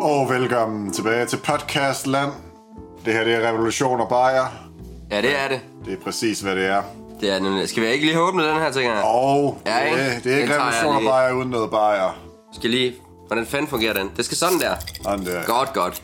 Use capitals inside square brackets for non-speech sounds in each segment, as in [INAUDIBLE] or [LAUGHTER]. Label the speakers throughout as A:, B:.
A: og velkommen tilbage til podcastland. Det her det er Revolution og Bayer.
B: Ja, det er det.
A: Det er præcis, hvad det er.
B: Det er det nemlig. Skal vi ikke lige have åbnet den her, tænker jeg?
A: Og
B: Ja, ikke?
A: det, det er
B: Den
A: ikke
B: tager jeg
A: Revolution og
B: lige.
A: Bayer uden noget Bayer.
B: Skal lige... Hvordan fanden fungerer den? Det skal sådan der.
A: Sådan der.
B: Godt, godt.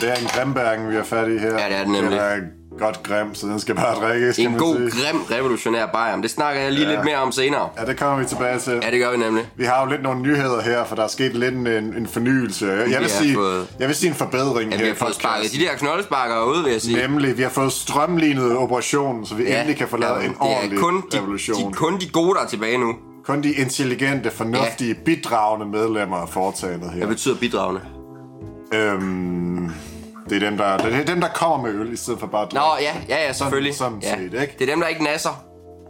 A: Det er en grimbæring, vi har fat i her.
B: Ja, det er den nemlig.
A: Den er godt grim, så den skal bare drikkes, kan
B: En
A: man
B: god,
A: sige.
B: grim revolutionær bajer. Men det snakker jeg lige
A: Ja.
B: lidt mere om senere.
A: Ja, det kommer vi tilbage til.
B: Ja, det gør vi nemlig.
A: Vi har jo lidt nogle nyheder her, for der er sket lidt en, en en fornyelse. Jeg
B: har
A: vil, sige,
B: fået-
A: jeg vil sige en forbedring
B: Ja,
A: her
B: vi
A: i
B: har fået sparket
A: podcasten.
B: de der knoldesparkere ud, vil jeg sige.
A: Nemlig, vi har fået strømlignet operationen, så vi ja, endelig kan få lavet
B: ja,
A: en
B: det er
A: ordentlig
B: kun de,
A: revolution.
B: De, kun de gode, der er tilbage nu.
A: Kun de intelligente, fornuftige, ja. bidragende medlemmer af foretagendet her.
B: Hvad betyder bidragende?
A: Øhm, det, er dem, der, det er dem, der kommer med øl, i stedet for bare at
B: Nå,
A: drikke.
B: ja, ja, ja, selvfølgelig.
A: sådan
B: ja.
A: set, ikke?
B: Det er dem, der ikke nasser.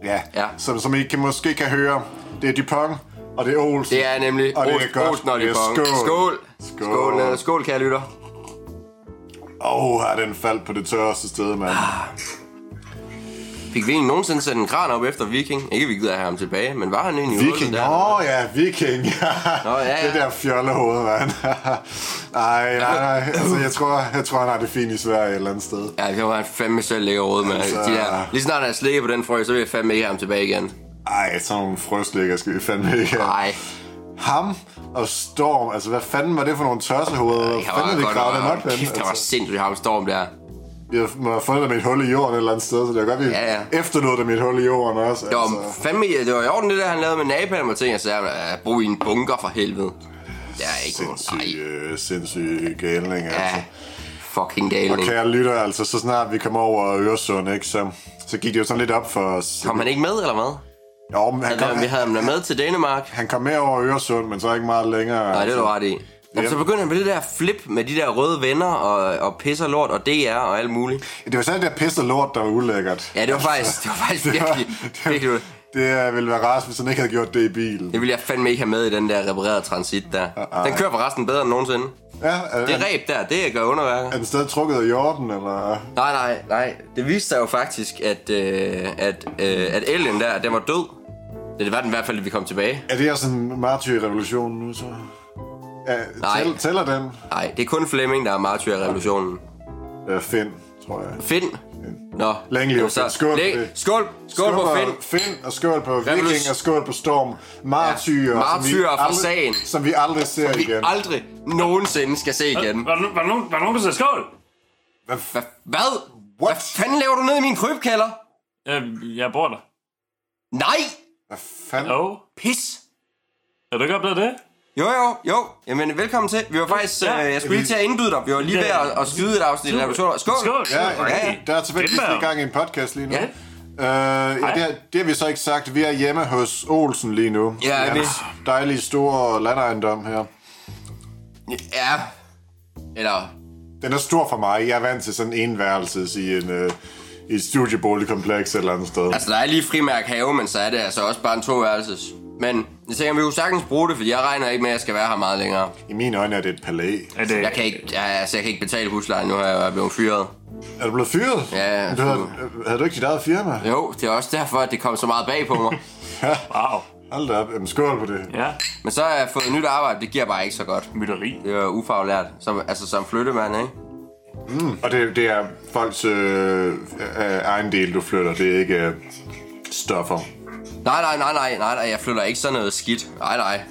A: ja.
B: ja.
A: Som, som I kan, måske kan høre, det er Dupont, og det er Olsen.
B: Det er nemlig
A: og det er
B: Olsen-
A: godt.
B: Olsen og
A: Det er
B: Dupont.
A: skål.
B: Skål.
A: Skål.
B: Skål, øh, skål, kære lytter.
A: Åh, oh, har den faldt på det tørreste sted, mand.
B: Ah, Fik vi egentlig nogensinde sat en kran op efter Viking? Ikke, vi gider have ham tilbage, men var han egentlig i hullet
A: Viking,
B: der?
A: åh oh, ja, viking. [LAUGHS]
B: Nå, ja, ja.
A: Det der fjollehoved, mand. [LAUGHS] nej, nej, nej. Altså, jeg tror, jeg tror, han har det fint i Sverige et eller andet sted.
B: Ja, det var han fandme selv lækker råd med.
A: Altså-
B: Altså... De der, lige snart han slikker på den frø, så vil jeg fandme ikke have ham tilbage igen.
A: Ej, sådan nogle frøslikker skal vi fandme ikke have.
B: Nej,
A: Ham og Storm, altså hvad fanden var det for nogle tørsehoveder? Hvad
B: han
A: fanden havde vi gravet dem op
B: [LAUGHS]
A: henne?
B: kæft, han var
A: Altså,
B: sindssygt ham storm der.
A: vi havde- må have fundet dem i et hul i jorden et eller andet sted, så det var godt, vi
B: Ja, ja.
A: efterlod dem i et hul i jorden også.
B: Det var,
A: Altså,
B: fandme, det var i orden, det der, han lavede med napalm og ting. Jeg sagde, at brug i en bunker for helvede. Det er ikke nogen.
A: sindssyg,
B: Nej,
A: øh, sindssyg galning, altså.
B: ja. Fucking
A: Og
B: galning.
A: kære lytter, altså, så snart vi kom over Øresund, ikke, så, så gik det jo sådan lidt op for os.
B: Kom han ikke med, eller hvad?
A: Jo, men han,
B: Eller,
A: kom,
B: vi havde ham da med til Danmark.
A: han kom med over Øresund, men så ikke meget længere. Altså,
B: Nej, det er du ret i. Jamen, så begyndte han med det der flip med de der røde venner og, og pisser lort og DR og alt muligt.
A: Det var sådan det der pisse lort, der var ulækkert.
B: Ja, det var faktisk, det var faktisk
A: Det, var, [LAUGHS]
B: virkelig,
A: det,
B: virkelig
A: var, det øh, ville være rart, hvis han ikke havde gjort det i bilen.
B: Det vil jeg fandme ikke have med i den der reparerede transit der. Den kører forresten bedre end nogensinde.
A: Ja, er,
B: Det
A: er,
B: ræb der, det gør underværker.
A: er den stadig trukket af jorden, eller?
B: Nej, nej, nej. Det viste sig jo faktisk, at, øh, at, øh, at Ellen der, den var død. Det var den i hvert fald, da vi kom tilbage.
A: Er det her sådan en martyr i revolutionen nu, så? Ja,
B: Nej.
A: tæl, tæller den?
B: Nej, det er kun Flemming, der er martyr i revolutionen.
A: Øh, Finn, tror jeg.
B: Finn. Nå.
A: Længe leve
B: jamen
A: Finn. Skål for
B: Læ-
A: det.
B: skål. Skål på Finn.
A: Finn, og skål på Viking,
B: Revolus-
A: og skål på Storm. Martyrer,
B: Ja, martyrer fra
A: aldrig,
B: sagen.
A: som vi aldrig ser
B: Vi
A: igen.
B: aldrig nogensinde skal se igen.
C: Var, der- var, der nogen- var der nogen, der sagde skål?
A: Hvad
B: Hva-
A: f-
B: Hvad? Hvad fanden laver du ned i min krybkælder?
C: Øh, jeg bor der.
B: Nej!
A: hvad fanden?
C: Jo.
B: Pis!
C: Er du ikke oplevet det?
B: Jo, jo, jo. Jamen, velkommen til. Vi var faktisk...
C: Ja.
B: Øh, jeg skulle lige til at indbyde dig. Vi var lige ved at, at skyde et afsnit af revolutioner. Skål!
C: Skål.
A: Ja,
C: Ej,
A: ja, der er tilfældigvis
C: Grinberg.
A: i gang i en podcast lige nu.
B: Ja.
A: Øh, ja,
C: Hej.
A: det, har, det har vi så ikke sagt. Vi er hjemme hos Olsen lige nu.
B: Ja,
A: I
B: vi-
A: hans dejlige store landejendom her.
B: Ja. Eller...
A: Den er stor for mig. Jeg er vant til sådan en værelse i, en, øh, i et studieboligkompleks et eller andet sted.
B: Altså, der er lige frimærk have, men så er det altså også bare en toværelses. Men jeg tænker, vi kunne sagtens bruge det, fordi jeg regner ikke med, at jeg skal være her meget længere.
A: I mine øjne er det et palæ.
C: Er det,
B: Jeg kan ikke, ja, altså, jeg kan ikke betale huslejen, nu har jeg blevet fyret.
A: Er du blevet fyret?
B: Ja,
A: Du havde, havde du ikke dit eget firma?
B: Jo, det er også derfor, at det kom så meget bag på
C: [LAUGHS]
B: mig.
C: Wow.
A: Hold da op. Jamen, skål på det.
C: Ja.
B: Men så har jeg fået nyt arbejde, det giver bare ikke så godt.
C: Mytteri.
B: Det er jo ufaglært, som, altså som flyttemand, ikke?
A: Og det, det er folks øh, øh, egen del, du flytter. Det er ikke øh, stoffer.
B: Nej, nej, nej, nej, nej, nej, jeg flytter ikke sådan noget skidt. Nej, nej.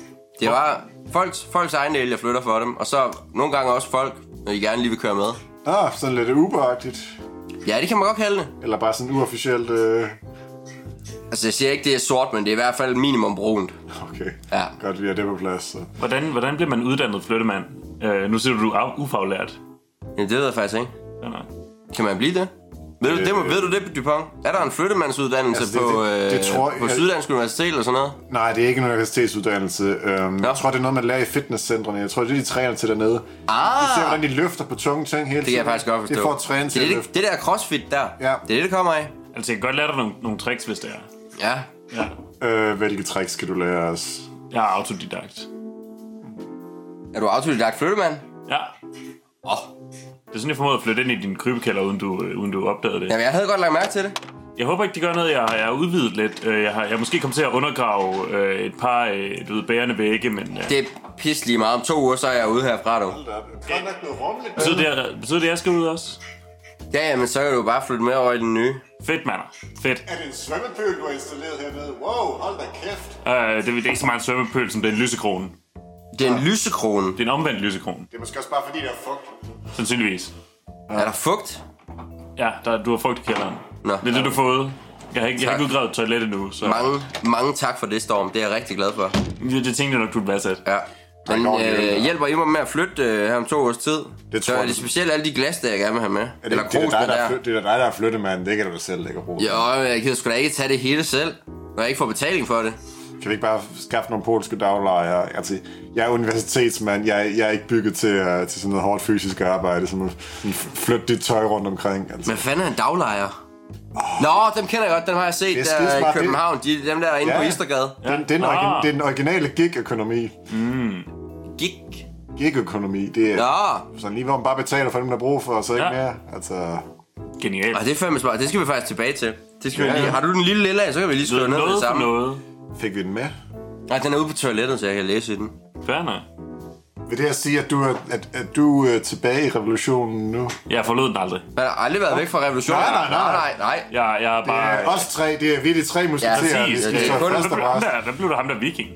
B: Det var folks, folks egen del, jeg flytter for dem. Og så nogle gange også folk, når de gerne lige vil køre med.
A: Ah, sådan lidt uberagtigt.
B: Ja, det kan man godt kalde det.
A: Eller bare sådan uofficielt... Øh,
B: Altså, jeg siger ikke, det er sort, men det er i hvert fald minimum brunt.
A: okay,
B: Ja.
A: godt, vi har det på plads. Så.
C: Hvordan, hvordan bliver man uddannet flyttemand? Øh, nu siger du, du er ufaglært.
B: Ja, det ved jeg faktisk ikke.
C: Ja, nej.
B: Kan man blive det? Ved du, det, må,
A: Øh.
B: ved du det, Dupont? Er der en flyttemandsuddannelse
A: Altså,
B: altså,
A: det-
B: på,
A: det-
B: øh,
A: det tror
B: på
A: jeg-
B: Syddansk Universitet eller sådan noget?
A: Nej, det er ikke en universitetsuddannelse. Øhm,
B: Nå.
A: jeg tror, det er noget, man lærer i fitnesscentrene. Jeg tror, det er det, de træner til dernede.
B: Ah!
A: De ser, hvordan de løfter på tunge ting hele tiden.
B: Det kan jeg faktisk godt forstå.
A: Det får at træne til
B: det,
A: at
B: er det,
A: løfte.
B: det der crossfit der,
A: Ja.
B: det er det, det kommer af.
C: Altså, jeg kan godt lære dig nogle, nogle tricks, hvis det er.
B: Ja.
C: Ja.
A: Øh, hvilke tricks skal du lære os?
C: Jeg er autodidakt.
B: Er du autodidakt flyttemand?
C: Ja.
B: Åh, oh.
C: Det er sådan, jeg formåede at flytte ind i din krybekælder, uden du, øh, uden du opdagede det.
B: jamen jeg havde godt lagt mærke til det.
C: Jeg håber ikke, det gør noget. Jeg, jeg har udvidet lidt. Øh, Jeg har jeg er måske kommet til at undergrave øh, et par øh, du ved, bærende vægge, men... Øh,
B: Det, pis lige meget. Om to uger, så er jeg ude herfra, du.
A: Hold da op. Godt nok noget rummeligt.
C: Betyder det, at- betyder det, at jeg skal ud også?
B: Ja, ja, men så kan du bare flytte med over i den nye.
C: Fedt, mander. Fedt.
A: Er det en svømmepøl, du har installeret hernede? Wow, hold da kæft.
C: Øh, det, det er ikke så meget en svømmepøl, som det er en lysekrone.
B: Det er en lysekrone.
C: Det er en omvendt lysekrone,
A: Det er måske også bare fordi, der er fugt.
C: sandsynligvis.
B: Er der fugt?
C: Ja, der, du har frugt i kælderen.
B: Nå.
C: Det er det, du har fået. Jeg har ikke, jeg har
B: Tak.
C: ikke udgravet et toilet endnu, så
B: Mange, mange tak for det, Storm. Det er jeg rigtig glad for.
C: det, det tænkte jeg nok, du ville være sat.
B: Ja. Men
A: Nå, det er-
B: øh, hjælper I mig med at flytte øh, her om to års tid?
A: Det
B: så
A: tror
B: er det
A: jeg.
B: specielt alle de glas, der jeg gerne vil have med.
A: Er det, det, er da
B: krusene
A: dig, der er flyt, det er da dig, der er flyttemand. Det kan du da selv lægge og bruge.
B: Jo, jeg kan sgu da ikke tage det hele selv, når jeg ikke får betaling for det.
A: Kan vi ikke bare skaffe nogle polske daglejere? Altså, jeg er universitetsmand. Jeg, jeg er ikke bygget til, uh, til sådan noget hårdt fysisk arbejde. Som at sådan flytte dit tøj rundt omkring. Altså.
B: Hvad fanden er en daglejer? Nå, dem kender jeg godt. Dem har jeg set
A: Det er
B: der i
A: skidesmart, det-
B: København. De, dem der er inde
A: Ja.
B: på Istergade.
A: Det, det, er den
C: Ah.
A: origi- det er den originale gig-økonomi.
B: Gik.
A: Gig-økonomi, det er
B: Nå,
A: sådan lige, hvor man bare betaler for dem, der er brug for, og så ikke
C: Ja.
A: mere. Altså,
C: Genialt.
B: og det er fandme smart. Det skal vi faktisk tilbage til. Det skal
A: Ja,
B: vi lige.
A: ja.
B: Har du den lille lille af, så kan vi lige skrive
C: Noget,
B: ned med det
C: noget for
B: samme.
C: noget.
A: fik vi den med?
B: Nej, den er ude på toilettet, så jeg kan læse i den.
C: Fair nok.
A: Vil det her sige, at du er, at, at du er tilbage i revolutionen nu?
C: Jeg forlod den aldrig.
B: Man har aldrig været væk fra revolutionen.
A: Nej, nej, nej.
B: nej, nej.
C: Jeg, jeg er bare...
A: Øh, os tre, det er vi er de tre musketerer,
B: præcis.
A: vi skal
B: Det er
A: stå
B: kun-
A: fast
C: der,
A: og
C: blev, ham
A: brast.
C: der, der blev der ham der viking.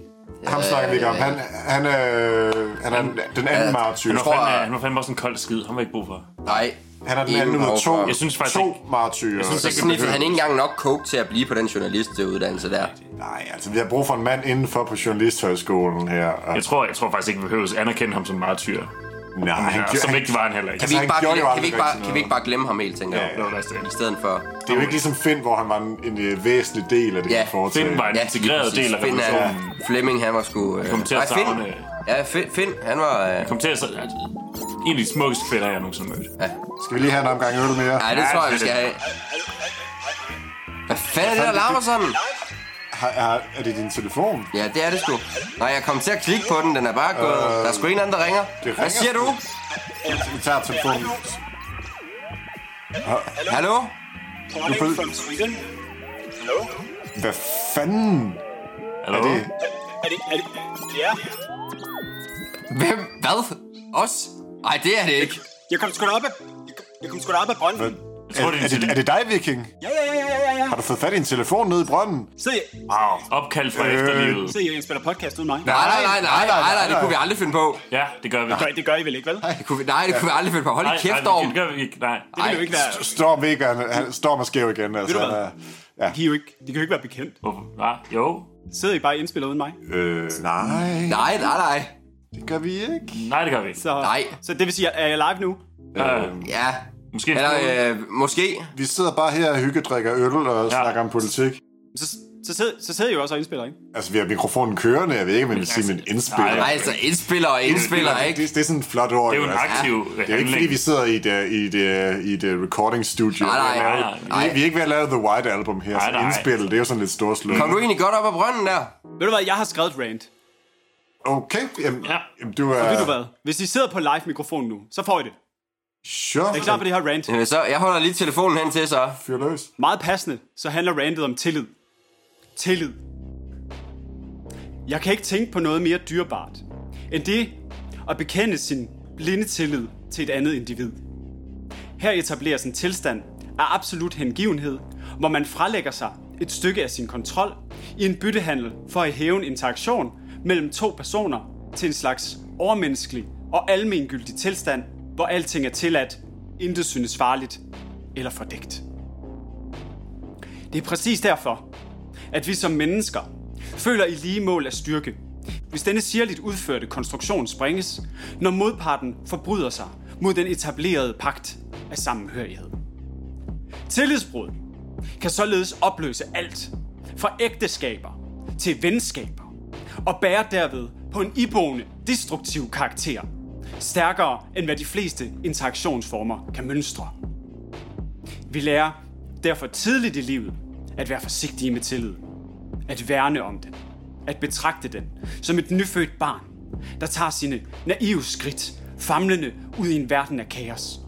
A: Ham snakker vi ikke om. Han, han, øh, han er den anden
B: Ja,
A: martyr.
C: Han var,
B: tror-
C: fandme, han var fandme også en kold skid. Han var ikke brug for.
B: Nej.
A: Han er den
B: Ingen
A: anden ud af
B: behov for-
A: to,
C: Jeg synes faktisk
A: to
C: ikke-
A: martyrer. Jeg
C: synes
B: Så
C: ikke-
B: sniffede han ikke engang nok coke til at blive på den journalistuddannelse der.
A: Nej, altså vi har brug for en mand indenfor på Journalisthøjskolen her. Og...
C: Jeg tror, jeg tror faktisk ikke, vi behøver at anerkende ham som martyr.
A: Nej, han,
C: Ja,
A: gjorde,
C: som
A: han,
C: ikke var han heller ikke.
B: Kan vi,
A: han
B: ikke bare,
A: gjorde jo
B: glemme, kan, vi
A: aldrig
B: ikke bare,
A: rigtig
B: kan vi ikke bare glemme ham helt, tænker jeg.
A: Ja,
C: Det var næsten
B: I
C: det.
B: stedet for...
A: det er jo ikke ligesom Finn, hvor han var en, en øh, væsentlig del af det,
B: Ja,
A: ja, foretagende.
C: Finn var en
B: Ja,
C: integreret
B: lige
C: del af
B: præcis. Finn,
C: revolutionen.
B: han- Flemming, han var sgu... Øh,
C: Kom til at
B: nej, Finn.
C: savne-
B: Ja, Finn, Finn, han var... Øh,
C: Kom til at... så- altså, En af de smukkeste kvinder, jeg nogensinde mødte.
B: ja.
A: Skal vi lige have en omgang øl mere?
B: Ej, det
C: Ja,
B: tror jeg, vi
C: det er
B: skal
C: det.
B: have. Hvad fanden er det, der larmer sådan?
A: Har, er, er det din telefon?
B: Ja, det er det sgu. Nej, jeg kom til at klikke på den. Den er bare gået. Der er sgu en anden, der Øh, ringer. Hvad
A: ringer
B: siger du?
A: sgu. Vi tager telefonen.
B: Hallo?
D: Calling
A: Du føl-
D: from Sweden. Hallo?
A: Hvad fanden
C: Hallo?
A: er det?
D: Er det, er det, ja.
B: Hvem? Hvad? Os? Nej, det er det ikke.
D: Jeg kom sgu da op af, jeg kom, jeg kom sgu da op af brønden.
C: Jeg
A: Er,
C: tror, det er
A: er,
C: en
A: det, er
C: tele-
A: det dig, Viking?
D: Ja, ja, ja, ja, ja, ja.
A: Har du fået fat i en telefon nede i brønden?
D: Sidder jeg,
C: opkald fra
A: Øh.
C: efterlivet.
D: sidder jeg, jeg spiller podcast uden mig?
B: Nej, nej, nej, nej, nej, nej, det kunne vi aldrig finde på.
C: Ja, det gør vi.
D: Nej, det gør I vel ikke, vel?
B: Det kunne vi, nej, det kunne vi aldrig finde på. Hold i
C: Nej,
B: kæft,
C: nej,
B: Dorm.
C: det gør vi ikke. Nej.
D: Det vil jo ikke være,
A: Storm ikke, han, han storm er skæv igen. Altså,
D: du hvad?
A: han er- ja.
D: de, er jo ikke, de kan jo ikke være bekendt.
C: Hvorfor? Hva? Jo.
D: Sidder I bare indspillet uden mig?
A: Øh, nej,
B: Nej, nej, nej.
A: det gør vi ikke.
C: Nej, det gør vi ikke.
D: Så,
B: Nej.
D: Så det vil sige, er jeg live nu?
C: Øh,
B: Ja.
C: måske
B: Eller
C: øh,
B: øh, måske.
A: Vi sidder bare her og hyggedrikker øl og ja. snakker om politik.
D: Så, så, sidder, så sidder I jo også og indspiller, ikke?
A: Altså, vi har mikrofonen kørende. Jeg ved ikke, om jeg vil sige,
C: altså,
A: men indspiller.
B: Nej, altså indspiller og indspiller,
A: det,
B: ikke?
A: det, det er sådan et flot ord.
C: det er jo
A: jo,
C: en
A: altså.
C: aktiv
A: Det er jo ikke, fordi
C: handling.
A: vi sidder i et, øh, i et, øh, i et øh, recording studio.
B: Nej, nej,
C: nej,
A: Vi,
B: nej.
A: vi er ikke ved at lave The White Album her,
C: Nej,
A: så
C: nej.
A: indspillet, det er jo sådan lidt storslået.
B: Kom du egentlig godt op af brønden der?
D: Ved du hvad, jeg har skrevet et rant.
A: Okay, jamen,
C: Ja.
A: jamen du er...
D: Ved du hvad? Hvis I sidder på live-mikrofonen nu, så får I det.
A: Sure,
D: Er I klar på det her rant?
B: Jamen, Så jeg holder lige telefonen hen til så.
A: fyr løs.
D: Meget passende, så handler rantet om tillid. Tillid. Jeg kan ikke tænke på noget mere dyrebart, end det at bekende sin blinde tillid til et andet individ. Her etableres en tilstand af absolut hengivenhed, hvor man frelægger sig et stykke af sin kontrol i en byttehandel for at hæve en interaktion mellem to personer til en slags overmenneskelig og almengyldig tilstand, hvor alting er tilladt, intet synes farligt eller fordækt. Det er præcis derfor, at vi som mennesker føler i lige mål af styrke. Hvis denne sirligt udførte konstruktion sprænges, når modparten forbryder sig mod den etablerede pagt af sammenhørighed. Tillidsbrud kan således opløse alt, fra ægteskaber til venskaber, og bærer derved på en iboende destruktiv karakter, stærkere end hvad de fleste interaktionsformer kan mønstre. Vi lærer derfor tidligt i livet at være forsigtige med tillid. At værne om den. At betragte den som et nyfødt barn, der tager sine naive skridt, famlende ud i en verden af kaos.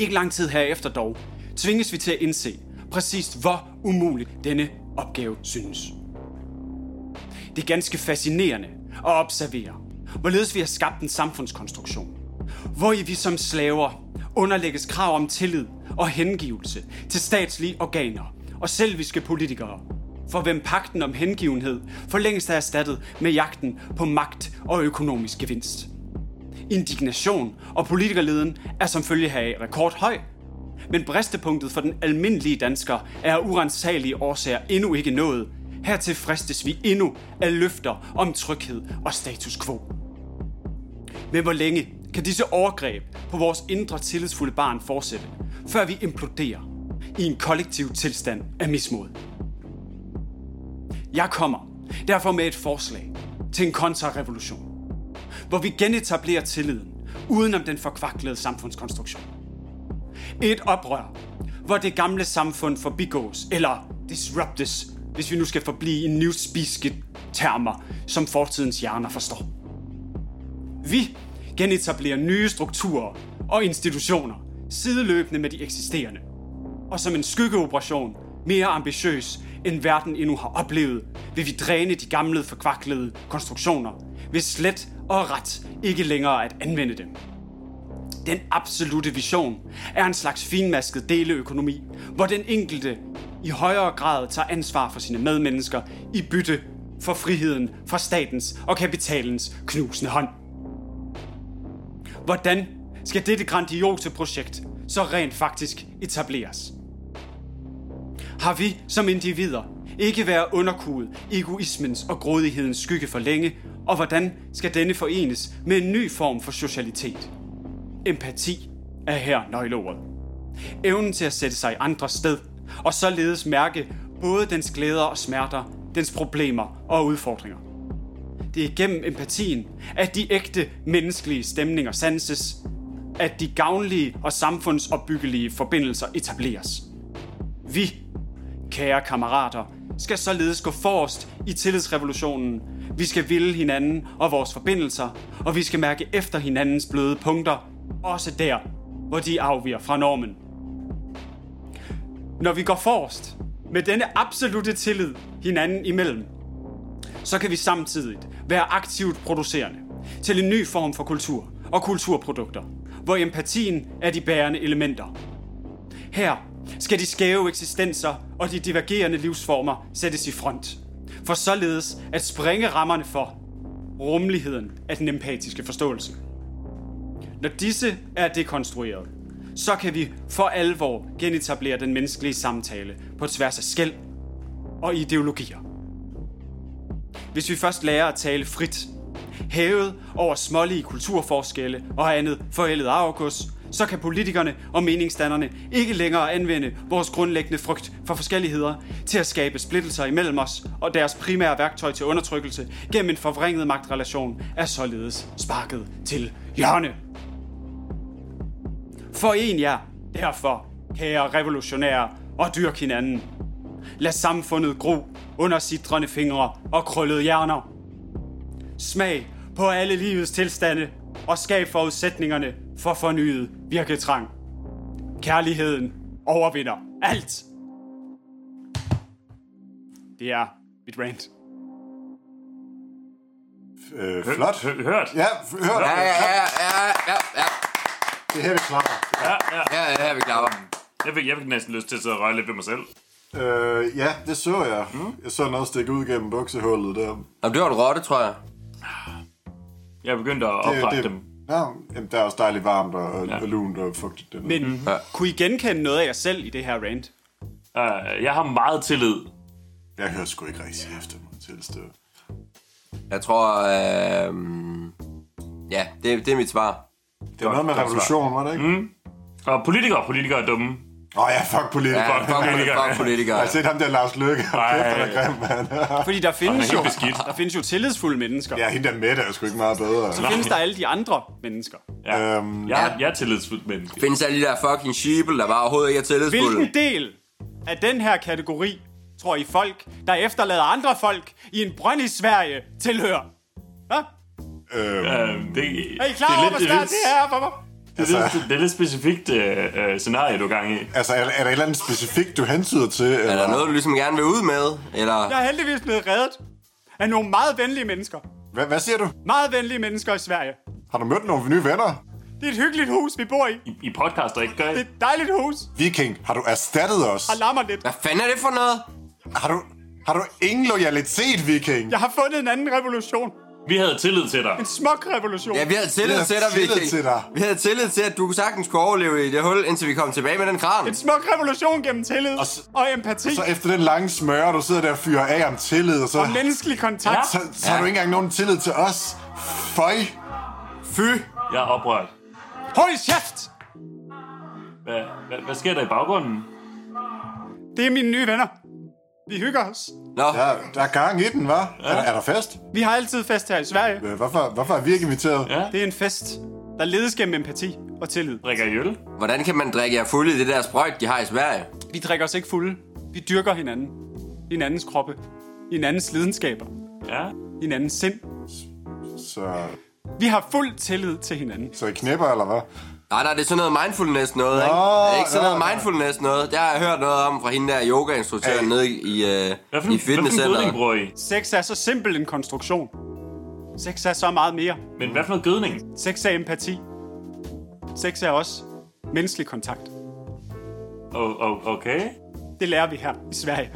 D: Ikke lang tid herefter dog, tvinges vi til at indse præcis, hvor umulig denne opgave synes. Det er ganske fascinerende at observere, hvorledes vi har skabt en samfundskonstruktion, hvor vi som slaver underlægges krav om tillid og hengivelse til statslige organer og selviske politikere, for hvem pakten om hengivenhed for længst er erstattet med jagten på magt og økonomisk gevinst. Indignation og politikerleden er som følge heraf rekordhøj, men bristepunktet for den almindelige dansker er af urensagelige årsager endnu ikke nået. Hertil fristes vi endnu af løfter om tryghed og status quo. Men hvor længe kan disse overgreb på vores indre tillidsfulde barn fortsætte, før vi imploderer i en kollektiv tilstand af mismod? Jeg kommer derfor med et forslag til en kontrarevolution hvor vi genetablerer tilliden udenom den forkvaklede samfundskonstruktion. Et oprør, hvor det gamle samfund forbigås eller disruptes, hvis vi nu skal forblive i newspeaket termer, som fortidens hjerner forstår. Vi genetablerer nye strukturer og institutioner, sideløbende med de eksisterende. Og som en skyggeoperation, mere ambitiøs end verden endnu har oplevet, vil vi dræne de gamle forkvaklede konstruktioner, hvis slet og ret ikke længere at anvende dem. Den absolute vision er en slags finmasket deleøkonomi, hvor den enkelte i højere grad tager ansvar for sine medmennesker i bytte for friheden fra statens og kapitalens knusende hånd. Hvordan skal dette grandiose projekt så rent faktisk etableres? har vi som individer ikke været underkuet egoismens og grådighedens skygge for længe, og hvordan skal denne forenes med en ny form for socialitet? Empati er her nøgleordet. Evnen til at sætte sig i andres sted, og således mærke både dens glæder og smerter, dens problemer og udfordringer. Det er gennem empatien, at de ægte menneskelige stemninger sanses, at de gavnlige og samfundsopbyggelige forbindelser etableres. Vi, kære kammerater, skal således gå forrest i tillidsrevolutionen. Vi skal ville hinanden og vores forbindelser, og vi skal mærke efter hinandens bløde punkter, også der, hvor de afviger fra normen. Når vi går forrest med denne absolute tillid hinanden imellem, så kan vi samtidig være aktivt producerende til en ny form for kultur og kulturprodukter, hvor empatien er de bærende elementer. Her skal de skæve eksistenser og de divergerende livsformer sættes i front. For således at sprænge rammerne for rummeligheden af den empatiske forståelse. Når disse er dekonstrueret, så kan vi for alvor genetablere den menneskelige samtale på tværs af skæld og ideologier. Hvis vi først lærer at tale frit, hævet over smålige kulturforskelle og andet forældet arvegods, så kan politikerne og meningsdannerne ikke længere anvende vores grundlæggende frygt for forskelligheder til at skabe splittelser imellem os, og deres primære værktøj til undertrykkelse gennem en forvrænget magtrelation er således sparket til hjørne. Foren jer derfor, kære revolutionære, og dyrk hinanden. Lad samfundet gro under sidrende fingre og krøllede hjerner. Smag på alle livets tilstande og skab forudsætningerne for fornyet virketrang. Kærligheden overvinder alt. Det er mit rant.
A: Øh, flot.
C: Hø- hørt?
A: Ja, f- hør.
B: Ja, ja, ja, ja, ja, ja.
A: Det her, det klapper.
B: Her, her vi klapper.
C: Jeg fik, jeg fik næsten lyst til at sidde og røre lidt ved mig selv.
A: Øh, ja, det så jeg.
C: Hmm?
A: Jeg så noget stikke ud gennem buksehullet der.
B: Jamen, det var en rotte, tror jeg.
C: Jeg begyndte at oprætte dem.
A: Ja, jamen, der er også dejligt varmt og, og,
C: Ja.
A: og lunt og fugtigt. dernede.
D: Men
B: Ja.
D: kunne I genkende noget af jer selv i det her rant?
C: Uh, jeg har meget tillid.
A: Jeg hører sgu ikke rigtig efter mig tilstå.
B: Jeg tror, øh, ja, det, det er mit svar.
A: Det var noget med
C: godt Hmm?
A: revolution, var det ikke? Åh mm.
C: Og politikere, politikere er dumme.
A: oh, ja, fuck
B: Ja,
A: politikere.
B: fuck,
C: politikere.
B: fuck politikere.
A: Jeg [LAUGHS] har set ham der Lars Løkke. Ej. Kæft, han er grim, mand. [LAUGHS]
D: Fordi der
C: er
D: findes,
C: helt
D: jo,
C: beskidt.
D: der findes jo tillidsfulde mennesker.
A: ja, hende der Mette er sgu ikke meget bedre. Øh,
D: Så findes der alle de andre mennesker.
C: Ja.
A: Øhm,
C: Jeg, er- jeg er tillidsfuldt menneske.
B: Findes alle de der fucking sheeple, der bare overhovedet ikke er tillidsfulde?
D: Hvilken del af den her kategori tror I folk, der efterlader andre folk i en brønd i Sverige, tilhører? Hva?
A: øhm,
C: Øh, det,
D: Er I klar over, hvor
C: det er
D: svært
C: lidt,
D: det er for mig?
C: det, er lidt, det er lidt specifikt øh, øh, scenarie, du er gang i.
A: Altså, er, er der et eller andet specifikt, du hensyder til?
B: Er
A: Eller?
B: der noget, du ligesom gerne vil ud med? Eller
D: Jeg er heldigvis blevet reddet af nogle meget venlige mennesker.
A: Hva, hvad siger du?
D: Meget venlige mennesker i Sverige.
A: Har du mødt nogle nye venner?
D: Det er et hyggeligt hus, vi bor i.
C: I, I podcaster, ikke? Gør I?
D: Det er et dejligt hus.
A: Viking, har du erstattet os?
D: Der larmer lidt.
B: Hvad fanden er det for noget?
A: Har du, har du ingen loyalitet, Viking?
D: Jeg har fundet en anden revolution.
C: Vi havde tillid til dig.
D: En smuk revolution.
B: Ja, vi havde tillid
A: Vi havde
B: til dig,
A: tillid
B: Viking.
A: til dig.
B: Vi havde tillid til, at du sagtens kunne overleve i det hul, indtil vi kom tilbage med den kran.
D: En smuk revolution gennem tillid og,
A: Og s-
D: og empati
A: Så efter den lange smøre, du sidder der og fyrer af om tillid, og så,
D: og menneskelig kontakt.
A: så, så har du ikke engang nogen tillid til os. Føj!
B: Fy!
C: Jeg er oprørt.
D: Hold kæft!
C: Hvad, hvad, hvad sker der i baggrunden?
D: Det er mine nye venner. Vi hygger os.
B: Nå,
A: Ja, der er gang i den, hva'? Er, er der fest?
D: Vi har altid fest her i Sverige.
A: Øh, Hvorfor, hvorfor er vi ikke inviteret?
C: Ja.
D: Det er en fest, der ledes gennem empati og tillid.
C: Drikker I øl?
B: hvordan kan man drikke jer fuld i det der sprøjt, de har i Sverige?
D: Vi drikker os ikke fulde. Vi dyrker hinanden. Hinandens kroppe. Hinandens lidenskaber.
C: Ja.
D: Hinandens sind.
A: Så,
D: Vi har fuld tillid til hinanden.
A: så I knipper, eller hvad?
B: Nej, nej, det er sådan noget mindfulness noget, ikke?
A: Nå,
B: det er ikke sådan
A: ja,
B: noget
A: ja.
B: mindfulness noget. Det har jeg hørt noget om fra hende der yogainstruktøren
A: Hey.
B: nede i, øh,
C: Hvad for
B: i
C: en, hvad for en gødning
B: fitnesscenteret.
C: bruger I?
D: Sex er så simpel en konstruktion. Sex er så meget mere.
C: Men hvad for noget gødning?
D: Sex er empati. Sex er også menneskelig kontakt.
C: Oh, oh, okay.
D: Det lærer vi her i Sverige.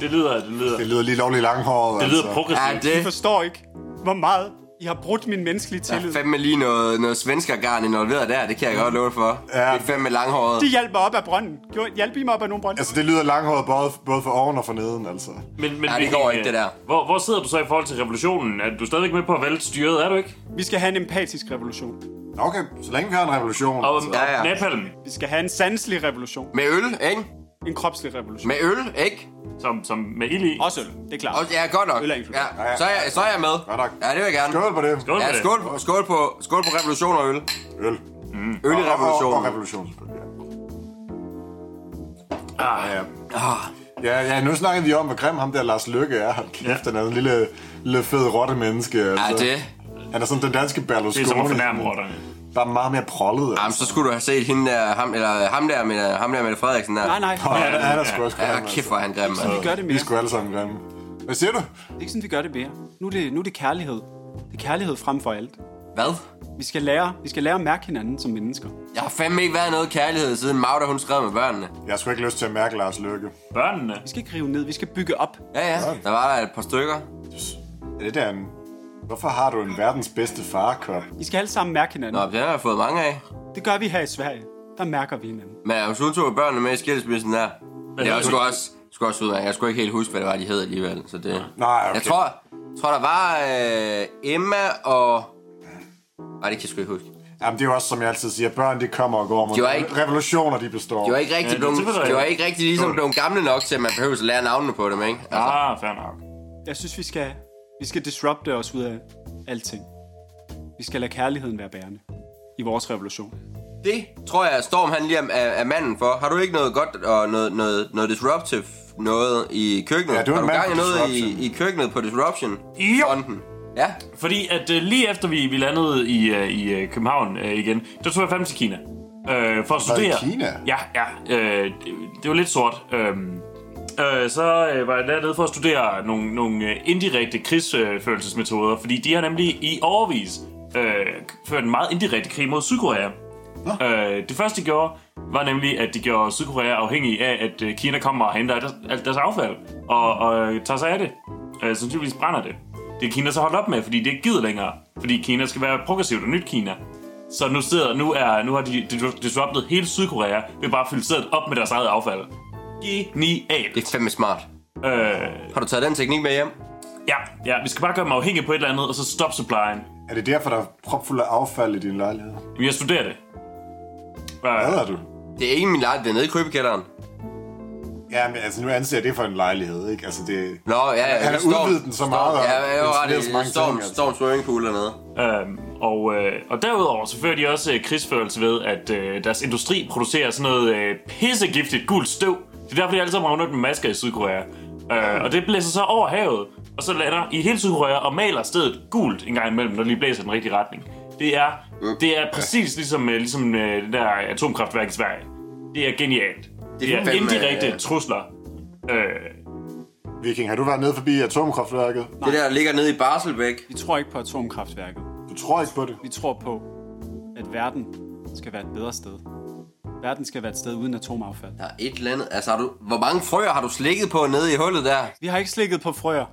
C: Det lyder, det lyder,
A: Det lyder lige lovligt langhåret, altså.
C: det lyder
B: Altså. Ja,
C: progressivt.
D: I
B: det
D: forstår ikke, hvor meget I har brudt min menneskelige tillid.
B: er fandme lige noget, noget svenskergarn involveret der. Det kan jeg godt love dig for. Ja. Det er fandme langhåret.
D: De hjalp mig op af brønden. Gjorde- Hjalp I mig op af nogle brønde?
A: Altså, det lyder langhåret både, både for oven og for neden, altså.
C: Men, men
B: Ja, det
C: Viking,
B: går
C: øh,
B: ikke, det der.
C: Hvor, hvor sidder du så i forhold til revolutionen? Er du stadigvæk med på at vælge styret, er du ikke?
D: Vi skal have en empatisk revolution.
A: Okay, så længe vi har en revolution. altså.
C: Og
A: så-
B: Ja, ja.
C: ja, ja. napalm,
D: Vi skal have en sanselig revolution.
B: Med øl, ikke?
D: En kropslig revolution.
B: Med øl, ikke?
C: som, som med ild i.
D: Også øl, det er klart.
B: Og, ja, godt nok.
D: Øl er inkluderet.
B: Ja, så, er jeg, så er jeg med.
A: Godt nok.
B: Ja, det vil jeg gerne.
A: Skål på det.
C: Skål for
B: Ja,
C: det.
B: skål, på- skål, på, skål på revolution og øl.
A: Øl.
B: Øl i
A: Og, og
B: revolutionen.
A: revolution, selvfølgelig. Ah. Ja. Ja, ja, nu snakkede vi om, hvor grim ham der Lars Lykke er. Hold kæft, ja. han er en lille, lille fed rotte menneske.
B: Ja,
A: Altså.
B: det.
A: Han er sådan den danske
C: Det
A: Berlusconi.
C: er som at fornærme rotterne.
A: Bare meget mere prollet. Altså.
B: Jamen, så skulle du have set hende der, ham, eller ham der, med, ham der med Frederiksen der.
D: Nej, nej.
A: [LAUGHS] Og han, han er sgu også grim.
B: Ja, kæft, hvor er han grim,
D: Vi
B: altså.
D: gør det
A: Vi
D: mere.
A: er sgu alle sammen grimme. Hvad siger du?
D: Det er ikke sådan, vi gør det mere. Nu er det, nu er det kærlighed. Det er kærlighed frem for alt.
B: Hvad?
D: Vi skal lære, vi skal lære at mærke hinanden som mennesker.
B: Jeg har fandme ikke været noget kærlighed, siden Magda, hun skrev med børnene.
A: Jeg har sgu ikke lyst til at mærke Lars Lykke.
C: Børnene.
D: Vi skal ikke rive ned, vi skal bygge op.
B: Ja, ja. Der var der et par stykker.
A: Er det der en... Hvorfor har du en verdens bedste farkop?
D: Vi skal alle sammen mærke hinanden.
B: Nå, det har jeg fået mange af.
D: Det gør vi her i Sverige. Der mærker vi hinanden.
B: Men jeg hun tog børnene med i skilsmissen der. Det var sgu også, sgu også udmærket. Jeg skulle ikke helt huske, hvad det var, de hed alligevel. Så det...
A: Nej, okay.
B: Jeg tror, tror der var øh, Emma og... Nej, det kan jeg sgu ikke huske.
A: Jamen, det er jo også, som jeg altid siger, børn de kommer og går, men
B: De var ikke-
A: revolutioner de består.
B: De var ikke
C: Ja,
B: rigtig,
C: det
B: blevet,
C: tilfælder jeg.
B: de var ikke rigtig ligesom blevet gamle nok til, at man behøver at lære navnene på dem, ikke? Altså,
C: Ah, fair nok.
D: Jeg synes, vi skal, vi skal disrupte os ud af alting. Vi skal lade kærligheden være bærende i vores revolution.
B: det tror jeg, at Storm han lige er, er, er manden for. Har du ikke noget godt og noget, noget, noget disruptive noget i køkkenet?
A: Ja, du er
B: Har
A: en
B: du
A: mand
B: gang i
A: for
B: noget i,
A: disruption.
B: i køkkenet på disruption?
C: Jo.
B: Fronten. Ja,
C: Fordi at øh, lige efter vi, vi landede i, øh, i øh, København øh, igen, der tog jeg fandme til Kina. Øh, for at
A: Var det
C: studere.
A: Kina?
C: Ja, ja. Øh, det, det var lidt sort. Øh, øh, så øh, var jeg dernede for at studere nogle, nogle øh, indirekte krigsførelsesmetoder, fordi de har nemlig i overvis øh, ført en meget indirekte krig mod Sydkorea. Øh, det første, de gjorde, var nemlig, at de gjorde Sydkorea afhængig af, at øh, Kina kommer og henter alt- alt deres affald og, og øh, tager sig af det. Øh, sandsynligvis brænder det. Det er Kina så holdt op med, fordi det ikke gider længere. Fordi Kina skal være progressivt og nyt Kina. Så nu, sidder, nu, er, nu har de disru- disruptet hele Sydkorea ved bare at fylde stedet op med deres eget affald. Genialt.
B: det er fandme smart.
C: Øh,
B: Har du taget den teknik med hjem?
C: ja, ja, vi skal bare gøre dem afhængige på et eller andet, og så stoppe supplyen.
A: Er det derfor, der er propfuld af affald i din lejlighed?
C: Jamen, jeg studerer det.
A: Hvad
C: Øh,
A: er du?
B: Det er ikke min lejlighed, det er nede i krybekælderen.
A: Ja, men altså, nu anser jeg det for en lejlighed, ikke? Altså, det...
B: Nå, ja, ja.
A: Han har
B: Storm-
A: udvidet den så meget,
B: Storm,
A: og
B: ja, jeg er jo ret
A: installeret så mange
B: i Storm,
A: ting, altså.
B: Storm Swimming Pool dernede.
C: Øhm, og, øh, og derudover så fører de også øh, krigsførelse ved, at øh, deres industri producerer sådan noget øh, pissegiftigt gult støv. Det er derfor, de alle sammen har under med masker i Sydkorea. Øh, og det blæser så over havet, og så lander i hele Sydkorea og maler stedet gult en gang imellem, når de blæser i den rigtige retning. Det er, det er præcis ligesom, øh, ligesom øh, det der atomkraftværk i Sverige. Det er øh, genialt. Det er
B: fandme,
C: indirekte
B: øh,
C: trusler. Øh,
A: Viking, har du været nede forbi atomkraftværket?
B: Det der ligger nede i Baselbæk.
D: Vi tror ikke på atomkraftværket.
A: Du tror ikke på det.
D: Vi tror på, at verden skal være et bedre sted. Verden skal være et sted uden atomaffald.
B: Der er et eller andet. Altså, har du, hvor mange frøer har du slikket på nede i hullet der?
D: Vi har ikke slikket på frøer.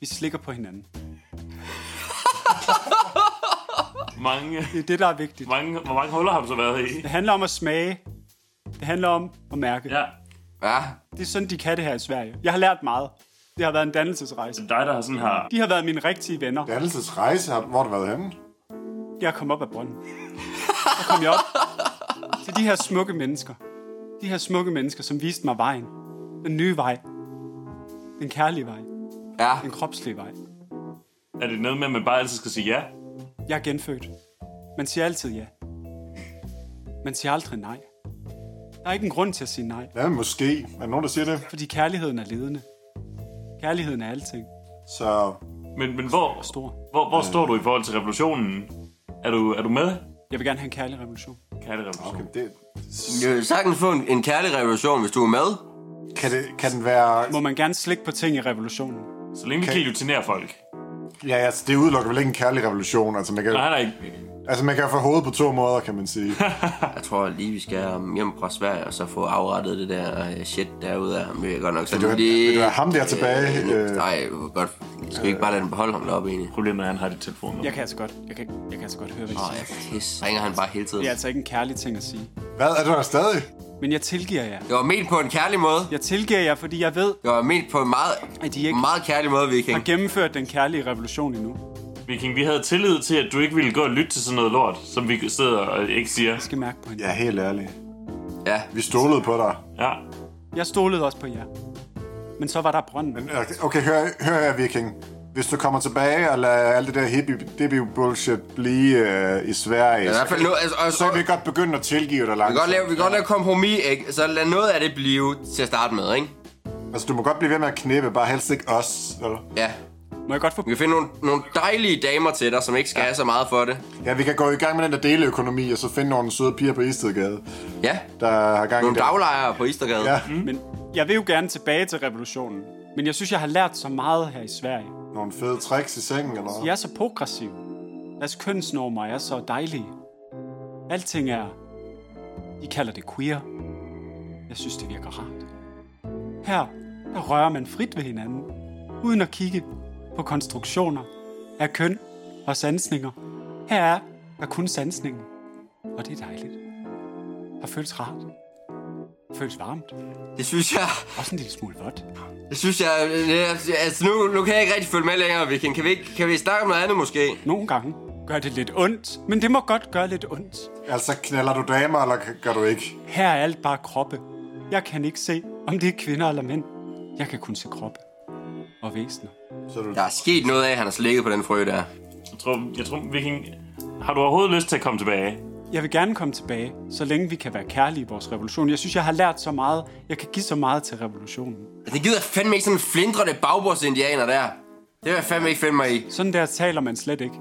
D: Vi slikker på hinanden.
C: Mange, [LAUGHS]
D: Det er det, der er vigtigt.
C: mange, hvor mange huller har du så været i?
D: Det handler om at smage. Det handler om at mærke.
C: Ja,
B: Ja,
D: Det er sådan, de kan det her i Sverige. Jeg har lært meget. Det har været en dannelsesrejse.
C: dig der har sådan har...
D: De har været mine rigtige venner.
A: Dannelsesrejse, har- hvor har du været henne?
D: Jeg kom op af brønden. Så kom jeg op til de her smukke mennesker. De her smukke mennesker, som viste mig vejen. Den nye vej. Den kærlige vej.
B: ja.
D: Den kropslige vej.
C: Er det noget med, at man bare altid skal sige ja?
D: Jeg er genfødt. Man siger altid ja. Man siger aldrig nej. Der er ikke en grund til at sige nej,
A: Ja, måske. Er der nogen, der siger det?
D: fordi kærligheden er ledende. Kærligheden er alting.
A: Så
C: Men, men hvor,
D: Stor.
C: hvor, hvor står du i forhold til revolutionen? Er du, er du med?
D: Jeg vil gerne have en kærlig revolution.
C: Kan det revolution?
A: okay, det,
B: Du kan sagtens få en, en kærlig revolution, hvis du er med.
A: kan, det, kan den være...
D: Må man gerne slikke på ting i revolutionen?
C: Så længe vi
A: Kan-
C: kan guillotinere folk.
A: Ja, altså, det udelukker vel ikke en kærlig revolution. Altså, man kan,
C: Nej, nej.
A: altså, man kan få hovedet på to måder, kan man
B: [LAUGHS]
A: sige.
B: Jeg tror lige, vi skal um, hjem fra Sverige og så få afrettet det der øh, shit derude af. Men jeg godt nok
A: du
B: sådan
A: have- vil du have ham der tilbage,
B: Øh,
A: øh?
B: nej, godt. Skal vi ikke bare lade den beholde ham deroppe egentlig?
C: Problemet er, at han har dit telefon.
D: Jeg kan altså godt, jeg kan, jeg kan altså godt høre, hvad
B: Åh,
D: I
B: ja,
D: siger.
B: pis. Ringer han bare hele tiden.
D: Det er altså ikke en kærlig ting at sige.
A: Hvad? Er du der stadig?
D: Men jeg tilgiver jer.
B: Det var ment på en kærlig måde.
D: Jeg tilgiver jer, fordi jeg ved,
B: Det var ment på en meget,
D: at I ikke
B: meget kærlig måde, Viking.
D: har gennemført den kærlige revolution endnu.
C: Viking, vi havde tillid til, at du ikke ville gå og lytte til sådan noget lort, som vi sidder og ikke siger.
D: Jeg skal mærke på hende.
A: Ja, helt ærligt.
B: Ja.
A: Vi stolede på dig.
C: Ja.
D: Jeg stolede også på jer. Men så var der brønden.
A: Men, okay, Okay, hør, hør her, Viking. Hvis du kommer tilbage og lader alt det der hippie, hippie bullshit blive øh, i Sverige,
B: I hvert fald noget, altså, og
A: så kan vi godt begynde at tilgive dig
B: Vi kan
A: langsomt.
B: godt lave, vi kan godt lave kompromis, ikke? Så lad noget af det blive til at starte med, ikke?
A: Altså, du må godt blive ved med at knippe, bare helst ikke os. Eller?
B: Ja.
D: Må jeg godt få...
B: Vi kan finde nogle, nogle dejlige damer til dig, som ikke skal ja. have så meget for det.
A: Ja, vi kan gå i gang med den der deleøkonomi, og så finde nogle søde piger på Istedgade,
B: Ja.
A: der har gang i
B: Nogle
A: det.
B: daglejere på Istergade.
A: Ja.
D: Men jeg vil jo gerne tilbage til revolutionen. Men jeg synes, jeg har lært så meget her i Sverige.
A: Nogle fede tricks i sengen, eller
D: I
A: ja.
D: er så progressive. Deres kønsnormer er så dejlige. Alting er... I kalder det queer. Jeg synes, det virker rart. Her, der rører man frit ved hinanden, uden at kigge på konstruktioner af køn og sansninger. Her er der kun sansninger, og det er dejligt. Der føles rart. Der føles varmt.
B: Det synes jeg...
D: Også en lille smule vådt.
B: Det synes jeg... det- Altså, nu, nu kan jeg ikke rigtig følge med længere, Viking. Kan vi, ikke, kan vi snakke om noget andet, måske?
D: Nogle gange gør det lidt ondt, men det må godt gøre lidt ondt.
A: Altså, knaller du damer, eller gør du ikke?
D: Her er alt bare kroppe. Jeg kan ikke se, om det er kvinder eller mænd. Jeg kan kun se kroppe og væsener.
A: Så er du...
B: Der er sket noget af, at han har slikket på den frø der.
C: Jeg tror, jeg tror, Viking... Har du overhovedet lyst til at komme tilbage?
D: Jeg vil gerne komme tilbage, så længe vi kan være kærlige i vores revolution. Jeg synes, jeg har lært så meget. Jeg kan give så meget til revolutionen.
B: Det gider Altså, jeg fandme ikke sådan en flindrende bagbordsindianer der. Det vil jeg fandme ikke finde mig i.
D: Sådan der taler man slet ikke.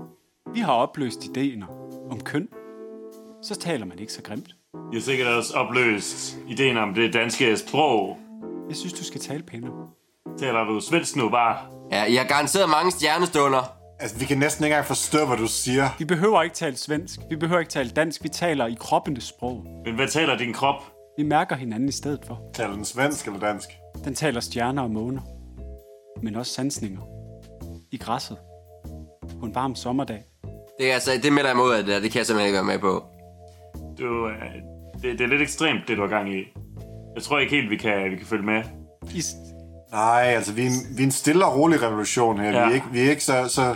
D: Vi har opløst idéer om køn. Så taler man ikke så grimt.
C: Jeg har sikkert også opløst ideen om det danske sprog.
D: Jeg synes, du skal tale pænere.
C: Taler du svensk nu bare?
B: Ja, I har garanteret mange stjernestunder.
A: Altså, vi kan næsten ikke engang forstå, hvad du siger.
D: Vi behøver ikke tale svensk. Vi behøver ikke tale dansk. Vi taler i kroppenes sprog.
C: Men hvad taler din krop?
D: Vi mærker hinanden i stedet for.
A: Taler den svensk eller dansk?
D: Den taler stjerner og måner, men også sansninger. I græsset. På en varm sommerdag.
B: Det, er, altså, det melder jeg mig ud af det der. Det kan jeg simpelthen ikke være med på.
C: Du, øh, det, det er lidt ekstremt, det du har gang i. Jeg tror ikke helt, vi kan, vi kan følge med.
D: I, s-
A: Nej, altså, vi er en, vi er en stille og rolig revolution her. Ja. Vi
C: Ja.
A: er ikke, vi er ikke så, så,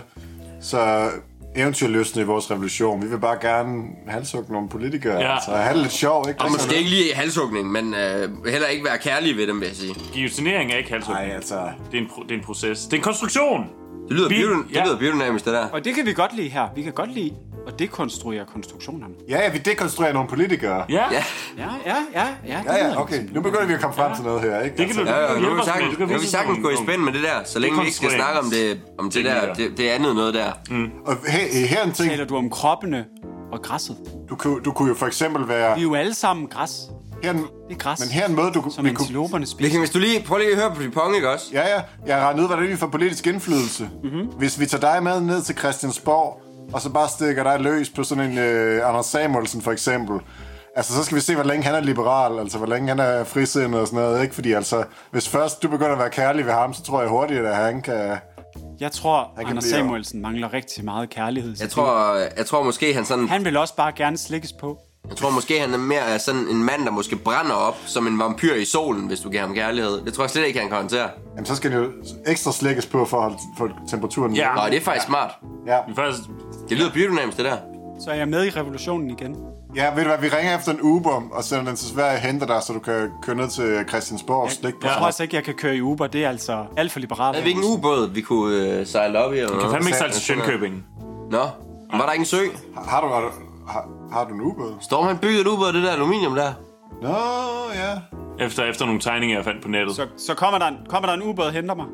A: så eventyrløsende i vores revolution. Vi vil bare gerne halshugge nogle politikere. Ja.
C: Ja.
A: Altså, og have det lidt sjovt, ikke?
B: Og måske ikke lige halshugning, men øh, heller ikke være kærlig ved dem, vil jeg sige.
C: Guillotinering er ikke halshugning.
A: Nej, altså...
C: Det er, en, pro- det er en proces. Det er en konstruktion!
B: Det lyder,
C: Vi-
B: bio, det
C: ja.
B: lyder biodynamisk, det der.
D: og det kan vi godt lide her. Vi kan godt lide at dekonstruere konstruktionerne.
A: Ja, ja, vi dekonstruerer nogle politikere.
C: Ja,
B: Ja,
D: Ja, ja, ja, ja. Det
A: Ja,
D: lyder
A: ja, okay. Nu begynder vi at komme frem til noget her, ikke?
C: Det kan du-
B: Altså, ja, ja, nu
C: Hjælp
B: kan vi
C: os med
B: sagtens,
C: det. Du kan
B: nu kan vi
C: vise
B: sagtens
C: nogle-
B: gå i
C: nogle-
B: spænd med det der, så længe vi ikke skal snakke om det, om det der, det, det andet noget der.
C: Mm.
A: Og hey, hey, her er en ting.
D: Taler du om kroppene og græsset?
A: Du kunne, du kunne jo for eksempel være...
D: Vi er jo alle sammen græs.
A: Her, er en-
D: Det er græs,
A: men her er en måde, du
D: som
A: vi kunne...
D: antiloperne
B: Vi
D: spiser.
B: kan, hvis du lige, prøv lige at høre på Dupont, ikke også?
A: Ja, ja. Jeg regner ud, hvordan vi får politisk indflydelse. Mm-hmm. Hvis vi tager dig med ned til Christiansborg, og så bare stikker dig løs på sådan en øh, Anders Samuelsen for eksempel. Altså, så skal vi se, hvor længe han er liberal, altså hvor længe han er frisindet og sådan noget, ikke? Fordi altså, hvis først du begynder at være kærlig ved ham, så tror jeg hurtigt, at han kan...
D: Jeg tror,
A: kan
D: Anders
A: blive-
D: Samuelsen mangler rigtig meget kærlighed.
B: Jeg tror, jeg tror måske, han sådan...
D: Han vil også bare gerne slikkes på.
B: Jeg tror måske, han er mere er sådan en mand, der måske brænder op som en vampyr i solen, hvis du giver ham kærlighed. Det tror jeg slet ikke, han kan håndtere.
A: Jamen, så skal det jo ekstra slækkes på for at holde for temperaturen nede.
C: Ja.
B: Nej, det er faktisk smart.
A: ja.
C: Men Faktisk,
B: Det lyder biodynamisk, det der.
D: Så er jeg med i revolutionen igen.
A: Ja, ved du hvad, vi ringer efter en Uber, og sender den til Sverige og henter dig, så du kan køre ned til Christiansborg og slikke på
D: Jeg
A: ja.
D: tror altså ikke, jeg kan køre i Uber. Det er altså alt for liberalt.
B: Havde vi ikke en ubåd, vi kunne øh, sejle op i? Eller
C: kan
B: noget?
C: fandme ikke sejle til Sjønkøbing.
B: Nå, men var der ikke en sø?
A: Har du, har, du, har, har du en Uber?
B: Storm han byggede en ubåd, af det der aluminium der.
A: Nå, ja.
C: Efter, efter nogle tegninger, jeg fandt på nettet.
D: Så, så kommer, der en, kommer der en Uber og henter mig.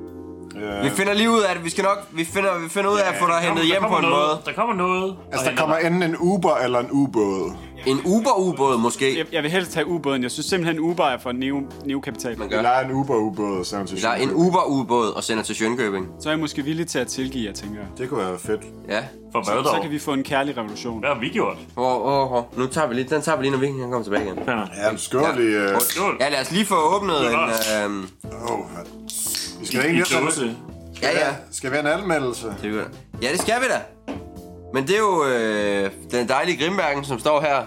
A: Øh,
B: Vi finder lige ud af det. Vi skal nok vi finder, vi finder ud af at få dig hentet hjem på en
C: noget,
B: måde.
C: Der kommer noget.
A: Altså, der kommer enten en Uber eller en ubåd.
B: En Uber-ubåd måske.
D: Jeg, jeg vil helst tage Uberen. Jeg synes simpelthen, Uber er for neo, neokapital.
A: Vi
B: Ja.
A: leger en Uber-ubåd og sender den til
B: Der er en
A: Sjælland.
B: Uber-ubåd og sender til Sjønkøbing.
D: Så er jeg måske villig til at tilgive, jeg tænker.
A: Det kunne være fedt.
B: Ja.
C: For hvad
D: Så
C: dog?
D: kan vi få en kærlig revolution.
C: Hvad har vi gjort?
B: Åh, åh, åh. Nu tager vi lige, den tager vi lige, når vi kan komme tilbage igen.
C: Fanden.
A: Ja, skål ja. i... Øh,
C: Skål.
B: Ja, lad os lige få åbnet en... Øh,
A: oh, vi skal
C: I
A: egentlig...
C: dåse.
B: ja, ja.
A: Skal vi have en anmeldelse?
B: Det er godt. Ja, det skal vi da. Men det er jo øh, den dejlige Grimbergen, som står her.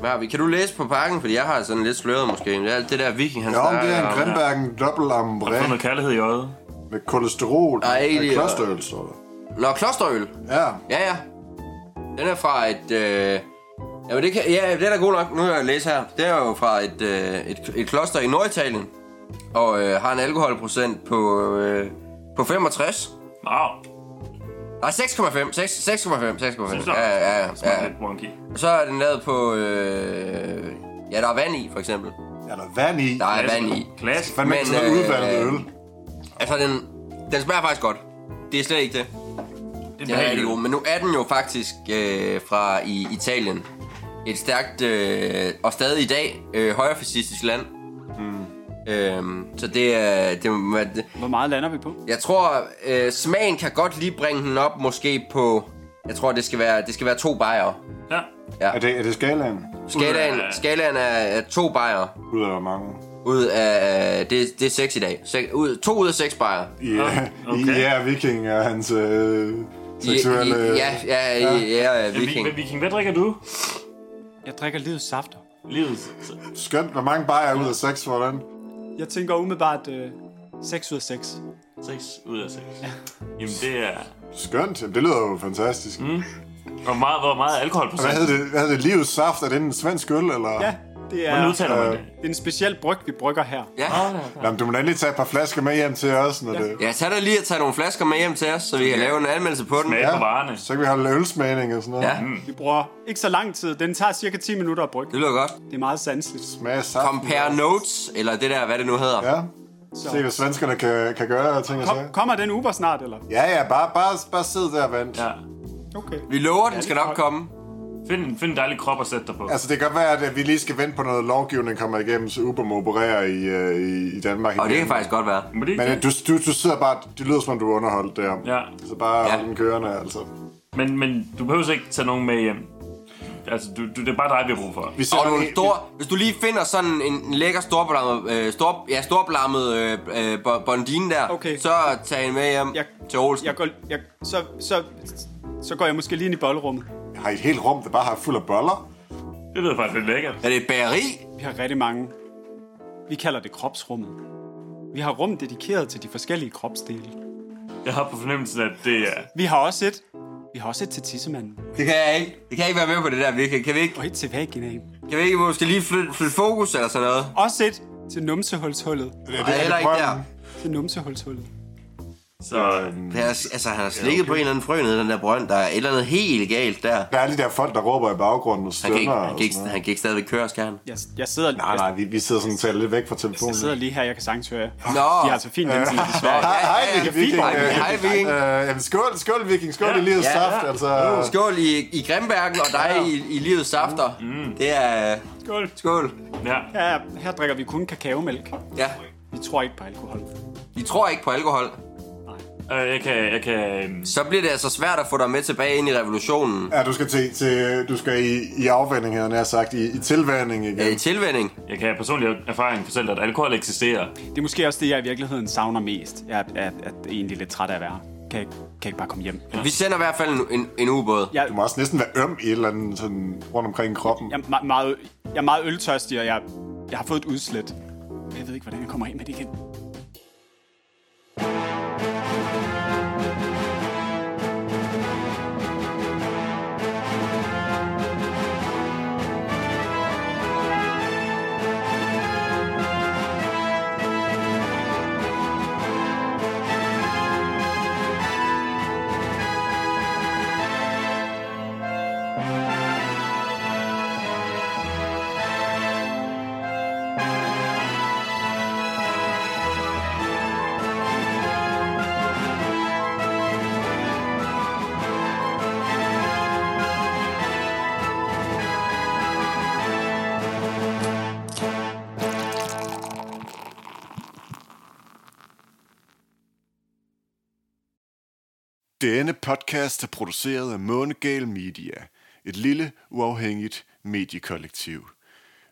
B: Hvad har vi? Kan du læse på pakken? Fordi jeg har sådan lidt sløret måske. Men det er alt det der viking, han
A: Ja,
B: snakker
A: om det er en
B: om.
A: Grimbergen dobbelt ambre
C: Få noget kærlighed i øjet.
A: med kolesterol
B: Ej,
A: og
B: egentlig, og-
A: klosterøl, står der.
B: Nå, klosterøl.
A: Ja,
B: Ja, ja. Den er fra et... Øh... Jamen, det kan... Ja, den er god nok. Nu kan jeg læse her. Det er jo fra et, øh, et, et kloster i Norditalien. Og øh, har en alkoholprocent på, øh, på 65.
C: Wow.
B: Nej, 6,5. 6, 6,5. 6,5. Ja, ja, ja,
C: Smart
B: ja.
C: lidt wonky.
B: Så er den lavet på... Øh... Ja, der er vand i, for eksempel.
A: er der vand i?
B: Der er vand i.
C: Klasse.
A: Hvad med
B: Men,
A: sådan noget
B: øh,
A: udvandet øl?
B: Altså, den, den smager faktisk godt. Det er slet ikke det.
C: Det
B: Den er rigtig god. Men nu er den jo faktisk øh, fra i Italien. Et stærkt, øh, og stadig i dag, øh, højrefascistisk land. Mm. Øhm, så det er... Det, må være- det,
D: Hvor meget lander vi på?
B: jeg tror, øh, smagen kan godt lige bringe den op måske på... Jeg tror, det skal være, det skal være to bajere.
C: Ja.
A: Er det, er det skalaen?
B: Skalaen,
C: Uha.
B: skalaen er, er to bajere.
A: Ud af hvor mange?
B: Ud af... Det, det er seks i dag. Sek, ud, to ud af seks bajere.
A: Ja, [LAUGHS]
C: okay.
A: okay. ja viking og hans øh, seksuelle...
B: Ja, ja, ja, ja, ja,
C: Men Viking.
B: viking.
C: Men Viking, hvad drikker du?
D: Jeg drikker livets safter.
C: Livet.
A: Skønt, hvor mange bajer er ud af seks for den?
D: Jeg tænker umiddelbart øh, 6 ud af 6.
C: 6 ud af 6. Jamen, det er...
A: Skønt, Jamen, det lyder jo fantastisk. Mm.
C: Hvor meget, hvor meget alkohol på
A: Hvad hedder det? Hvad hedder det? Livets saft? Er det en svensk øl, eller?
D: Ja, det
C: Hvordan
D: er,
C: udtaler man det?
D: det er en speciel bryg, vi brygger her.
B: Ah, Ja.
A: Jamen, du må da endelig tage et par flasker med hjem til os, når ja. det...
B: Ja, så er der lige at tage nogle flasker med hjem til os, så vi kan lave en anmeldelse på den.
C: Smag på varerne.
A: Så kan vi holde ølsmagning og sådan noget.
B: Ja,
D: Vi bruger ikke så lang tid. Den tager cirka 10 minutter at brygge.
B: det lyder godt.
D: Det er meget sanseligt.
A: Smage saft.
B: Compare notes, eller det der, hvad det nu hedder.
A: Ja. Se, hvad svenskerne kan, kan gøre og ting og sager.
D: Kom, kommer den Uber snart, eller?
A: Ja, ja, bare, bare, bare sid der og vent. Ja.
C: Ja.
D: Okay.
B: Vi lover, den skal nok komme.
C: Find, find en dejlig krop at sætte dig på.
A: Altså, det kan godt være, at vi lige skal vente på noget lovgivning kommer igennem, så Uber må operere i, øh, i, i Danmark.
B: Og det
A: igen.
B: kan faktisk godt være.
C: Men det,
A: Men øh, du, du, du sidder bare... Det lyder, som om du er underholdt der.
C: Ja.
A: Så bare
B: Ja.
A: ja. hold den kørende, altså.
C: men, men du behøver ikke tage nogen med hjem. Altså, du, du, det er bare dig, vi har brug for.
A: Vi
B: Og
A: sender
B: nogle
A: en-
B: stor, hvis du lige finder sådan en en lækker storblammet, øh, stor, ja, storblammet øh, øh, bo- bondine der,
D: Okay.
B: så tag en med hjem
D: Jeg-
B: til Olsen.
D: Jeg går, jeg, så, så, så går jeg måske lige ind i bollerummet.
A: vi Har et helt rum, der bare har fuld af boller.
C: Det lyder faktisk lidt lækkert.
B: Er det et bageri?
D: Vi har rigtig mange. Vi kalder det kropsrummet. Vi har rum dedikeret til de forskellige kropsdele.
C: Jeg har på fornemmelsen, at det er...
D: Vi har også et. Vi har også et til tissemanden.
B: Det kan jeg ikke. Det kan jeg ikke være med på det der, virkelig. Kan vi ikke,
D: Og et til vaginaen.
B: kan vi ikke måske lige flytte, flytte fokus eller sådan noget?
D: Også et til numsehulshullet.
A: Det,
B: Nej, heller ikke
A: drømmen.
B: der.
D: Til numsehulshullet.
C: Så øh,
B: Han har, altså, han har slikket okay. på en eller anden frø nede i den der brønd. Der er et eller andet helt galt der.
A: Der er de der folk, der råber i baggrunden og
B: Han
A: stønner.
B: kan ikke, han
A: og
B: kan ikke,
A: sådan noget.
B: han kan ikke stadigvæk køre, skal han?
D: Jeg, jeg, sidder,
A: Nej, nej, vi, vi sidder sådan og taler lidt væk fra
D: Jeg,
A: telefonen.
D: jeg sidder lige her, jeg kan sagtens høre jer.
B: Nå,
D: De har altså fint internet i Sverige.
A: Hej, hej,
B: Ja, ja,
A: Viking, Viking.
B: fint, Viking.
A: Øh,
B: Hej, Viking.
A: Øh, jamen, skål, skål, Viking. Skål i livets
B: Ja,
A: saft.
B: ja.
A: Altså,
B: skål i, i Grimbergen og dig i, i livets safter. Mm. Det er...
D: Skål.
B: Skål.
C: ja.
D: Her, her drikker vi kun kakaomælk.
B: Ja.
D: Vi tror ikke på alkohol.
B: Vi tror ikke på alkohol.
C: Øh, jeg kan, jeg kan øhm,
B: Så bliver det altså svært at få dig med tilbage ind i revolutionen.
A: Ja, du skal, til, til, du skal i, i afvænding, havde jeg nær sagt. I, i tilvænding igen.
B: Ja. Øh, I tilvænding.
C: Jeg kan af personlig erfaring fortælle dig, at alkohol eksisterer.
D: Det er måske også det, jeg i virkeligheden savner mest. Jeg er, er, er egentlig lidt træt af at være her. Kan jeg, kan jeg ikke bare komme hjem?
B: Vi sender i hvert fald en, en, en ubåd.
D: Jeg,
A: Du må også næsten være øm i et eller andet sådan, rundt omkring kroppen.
D: jeg, er me- meget, jeg er meget øltørstig, og jeg, jeg har fået et udslæt. Jeg ved ikke, hvordan jeg kommer af med det igen.
A: Denne podcast er produceret af Månegal Media, et lille uafhængigt mediekollektiv.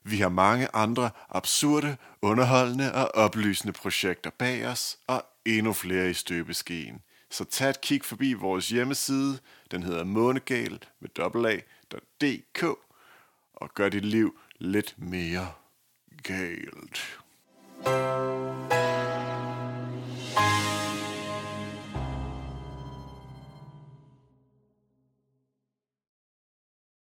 A: Vi har mange andre absurde, underholdende og oplysende projekter bag os, og endnu flere i støbeskeen. Så tag et kig forbi vores hjemmeside, den hedder månegal med dobbeltag.dk, og gør dit liv lidt mere galt.